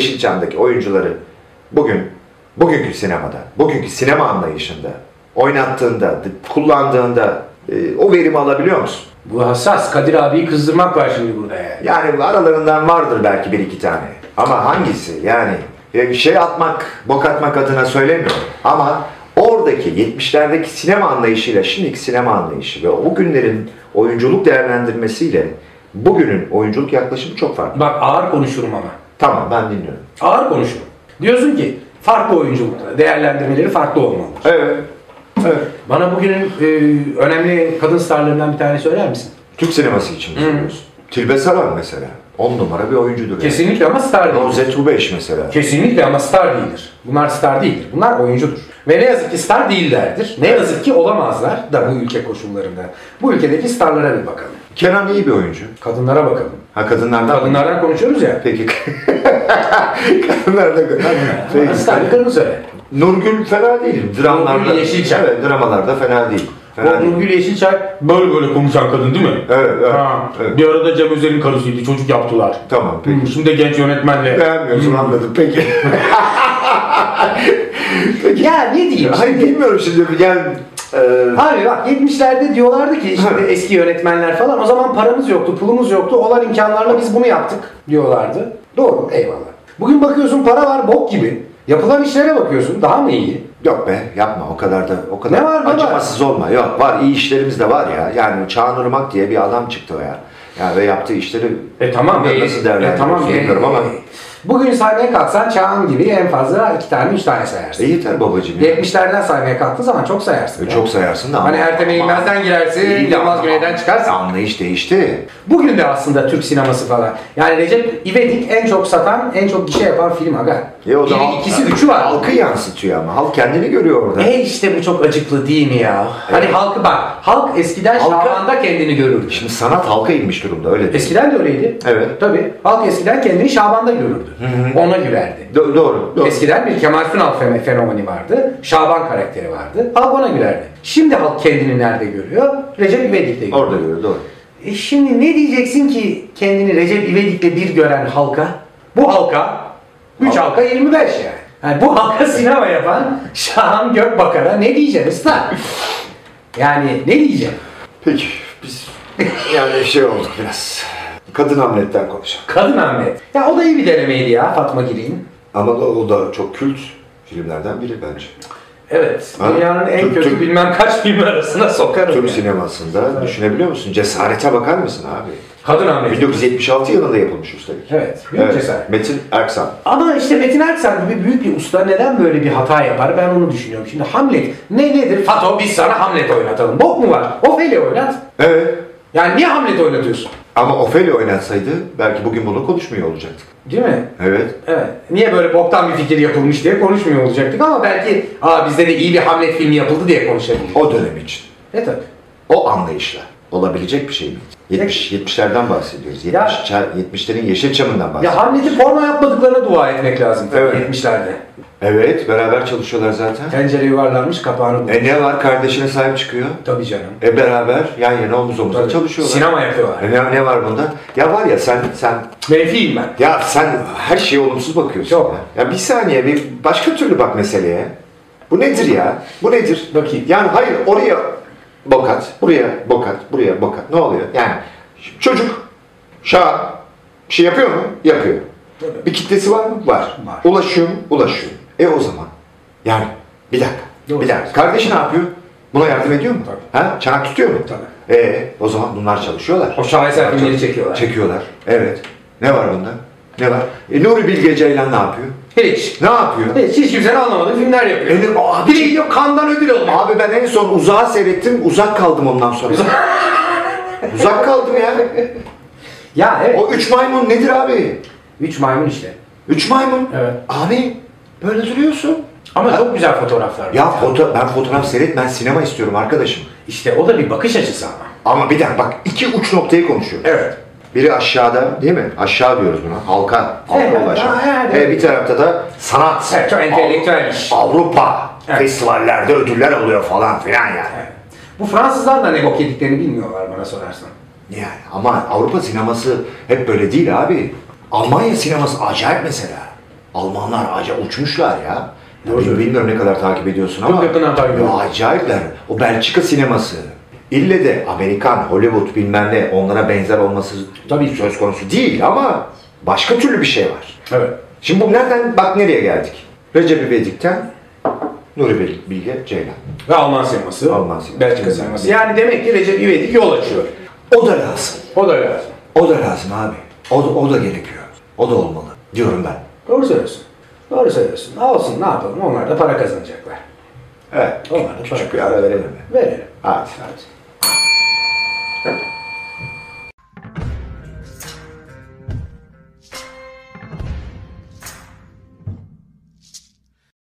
Yeşilçam'daki oyuncuları bugün bugünkü sinemada, bugünkü sinema anlayışında oynattığında, d- kullandığında e, o verimi alabiliyor musun? Bu hassas. Kadir abiyi kızdırmak var şimdi burada yani. Yani aralarından vardır belki bir iki tane. Ama hangisi? Yani e, şey atmak, bok atmak adına söylemiyorum. Ama oradaki 70'lerdeki sinema anlayışıyla şimdiki sinema anlayışı ve o günlerin oyunculuk değerlendirmesiyle bugünün oyunculuk yaklaşımı çok farklı. Bak ağır konuşurum ama. Tamam ben dinliyorum. Ağır konuşurum. Diyorsun ki farklı oyunculukta değerlendirmeleri farklı olmalı. Evet. Evet. Bana bugünün e, önemli kadın starlarından bir tane söyler misin? Türk sineması için mi söylüyorsun? Tilbe Saran mesela. On numara bir oyuncudur. yani. Kesinlikle ama star değildir. Rozet Rubeş mesela. Kesinlikle ama star değildir. Bunlar star değildir. Bunlar oyuncudur. Ve ne yazık ki star değillerdir. Ne yazık ki olamazlar da bu ülke koşullarında. Bu ülkedeki starlara bir bakalım. Kenan iyi bir oyuncu. Kadınlara bakalım. Ha kadınlardan Kadınlardan konuşuyoruz ya. Peki. Kadınlardan Peki. Starlıklarını söyle. Nurgül fena değil. Dramlarda. Nurgül Yeşilçay. Evet, dramalarda fena değil. Fena O değil. Nurgül Yeşilçay böyle böyle konuşan kadın değil mi? Evet, evet, Ha, evet. Bir arada Cem Özer'in karısıydı, çocuk yaptılar. Tamam peki. Hmm, Şimdi de genç yönetmenle. Beğenmiyorsun anladım peki. peki. Ya ne diyeyim Hayır şimdi? bilmiyorum şimdi. Yani, e, Abi bak 70'lerde diyorlardı ki işte Evet. eski yönetmenler falan o zaman paramız yoktu, pulumuz yoktu, olan imkanlarla biz bunu yaptık diyorlardı. Doğru, eyvallah. Bugün bakıyorsun para var bok gibi. Yapılan işlere bakıyorsun daha mı iyi? Yok be yapma o kadar da o kadar Ne var baba? acımasız olma. Yok var iyi işlerimiz de var ya. Yani Çağan Irmak diye bir adam çıktı o ya. Yani ve yaptığı işleri E tamam. Bilmiyorum e, nasıl değerlendiriyorsun e, tamam. e, bilmiyorum ama. Bugün sahneye kalksan Çağan gibi en fazla iki tane üç tane sayarsın. E yeter babacığım. ya. 70'lerden sahneye kalktığın zaman çok sayarsın. E, ya. Çok sayarsın da. Hani ama- Ertem Eğilmez'den girersin, İyi de Yılmaz ama- Güney'den çıkarsın. Anlayış değişti. Bugün de aslında Türk sineması falan. Yani Recep İvedik en çok satan, en çok gişe yapan film aga. E o da Biri, halk- ikisi, üçü var. Halkı yansıtıyor ama. Halk kendini görüyor orada. E işte bu çok acıklı değil mi ya? Hani halkı bak, halk eskiden Halka- Şaban'da kendini görürdü. Şimdi sanat halka inmiş durumda öyle değil. Eskiden de öyleydi. Evet. Tabii. Halk eskiden kendini Şaban'da görürdü. Ona gülerdi. Do- doğru. doğru. Eskiden bir Kemal Sunal fem- fenomeni vardı. Şaban karakteri vardı. Halk ona gülerdi. Şimdi halk kendini nerede görüyor? Recep İvedik'te görüyor. Orada görüyor doğru. E şimdi ne diyeceksin ki kendini Recep İvedik'le bir gören halka? Bu halka, 3 Halk- halka 25 yani. Yani bu halka sinema yapan Şahan Gökbakar'a ne diyeceksin usta? Yani ne diyeceksin? Peki biz yani şey olduk biraz. Kadın hamletten konuşalım. Kadın Ahmet. Ya o da iyi bir denemeydi ya Fatma Giri'nin. Ama o da çok kült filmlerden biri bence. Evet. Ha? Dünyanın en Türk- kötü Türk- bilmem kaç film arasına sokarım. Türk yani. sinemasında düşünebiliyor musun? Cesarete bakar mısın abi? Kadın Ahmet. 1976 yılında yapılmış üstelik. Evet. Büyük Evet, cesaret. Metin Erksan. Ama işte Metin Erksan gibi büyük bir usta neden böyle bir hata yapar ben onu düşünüyorum. Şimdi Hamlet ne nedir? Fato biz sana Hamlet oynatalım. Bok mu var? Ofeli oynat. Evet. Yani niye Hamlet oynatıyorsun? Ama Ofeli oynatsaydı belki bugün bunu konuşmuyor olacaktık. Değil mi? Evet. Evet. Niye böyle boktan bir fikir yapılmış diye konuşmuyor olacaktık ama belki aa bizde de iyi bir Hamlet filmi yapıldı diye konuşabiliriz. O dönem için. E tabii. O anlayışla olabilecek bir şey mi? 70, 70'lerden bahsediyoruz. 70, Ya- 70'lerin Yeşilçam'ından bahsediyoruz. Ya Hamlet'i porno yapmadıklarına dua etmek lazım tabii Evet. 70'lerde. Evet. Beraber çalışıyorlar zaten. Tencere yuvarlanmış kapağını bulmuş. E ne var? Kardeşine sahip çıkıyor. Tabii canım. E beraber yan yana omuz omuza Tabii. çalışıyorlar. Sinema yapıyorlar. E ne, ne var bunda? Ya var ya sen sen Menfiyim ben. Ya sen her şeye olumsuz bakıyorsun. Yok. Ya. ya bir saniye bir başka türlü bak meseleye. Bu nedir ya? Bu nedir? Bakayım. Yani hayır oraya bokat, buraya bokat, buraya bokat. Ne oluyor? Yani ş- çocuk şa bir şey yapıyor mu? Yapıyor. Tabii. Bir kitlesi var mı? Var. Var. Ulaşıyor mu? Ulaşıyor. E o zaman. Yani bir dakika. Doğru. Bir dakika. Kardeşi ne yapıyor? Buna yardım ediyor mu? Tabii. Ha? Çanak tutuyor mu? Tabii. E o zaman bunlar çalışıyorlar. O şaheser filmleri çekiyorlar. Çekiyorlar. Evet. Ne var bunda? Ne var? E, Nuri Bilge Ceylan ne yapıyor? Hiç. Ne yapıyor? Hiç, hiç E, kimsenin anlamadığı filmler yapıyor. E, ne- Aa, Biri gidiyor kandan ödül alıyor. Abi ben en son uzağa seyrettim. Uzak kaldım ondan sonra. uzak kaldım ya. Ya evet. O üç maymun nedir abi? Üç maymun işte. Üç maymun. Evet. Abi böyle duruyorsun. Ama çok güzel fotoğraflar. var. Ya foto ben fotoğraf seyret ben sinema istiyorum arkadaşım. İşte o da bir bakış açısı ama. Ama bir dakika bak iki uç noktayı konuşuyoruz. Evet. Biri aşağıda değil mi? Aşağı diyoruz buna. Halka. Halka Evet, ulaşan. evet, E, evet. bir tarafta da sanat. Evet, çok entelektüel iş. Avrupa Evet. festivallerde ödüller alıyor falan filan yani. Bu Fransızlar da ne bok yediklerini bilmiyorlar bana sorarsan. Yani ama Avrupa sineması hep böyle değil abi. Almanya sineması acayip mesela. Almanlar acayip uçmuşlar ya. Ya Doğru. bil- Bilmiyorum ne kadar takip ediyorsun ama Çok yakın haber yok. ya acayipler. O Belçika sineması. İlle de Amerikan, Hollywood bilmem ne onlara benzer olması Tabii. söz konusu değil ama başka türlü bir şey var. Evet. Şimdi bu nereden bak nereye geldik? Recep İvedik'ten Nuri Bil- Bilge Ceylan. Ve Alman sineması. Alman sineması. Belçika sineması. Yani demek ki Recep İvedik yol açıyor. O da lazım. O da lazım. O da lazım abi. O da, o da gerekiyor. O da olmalı diyorum ben. Doğru söylüyorsun. Doğru söylüyorsun. Olsun ne yapalım onlar da para kazanacaklar. Evet. Onlar da para Küçük bir ara verelim mi? Verelim. Hadi. Hadi.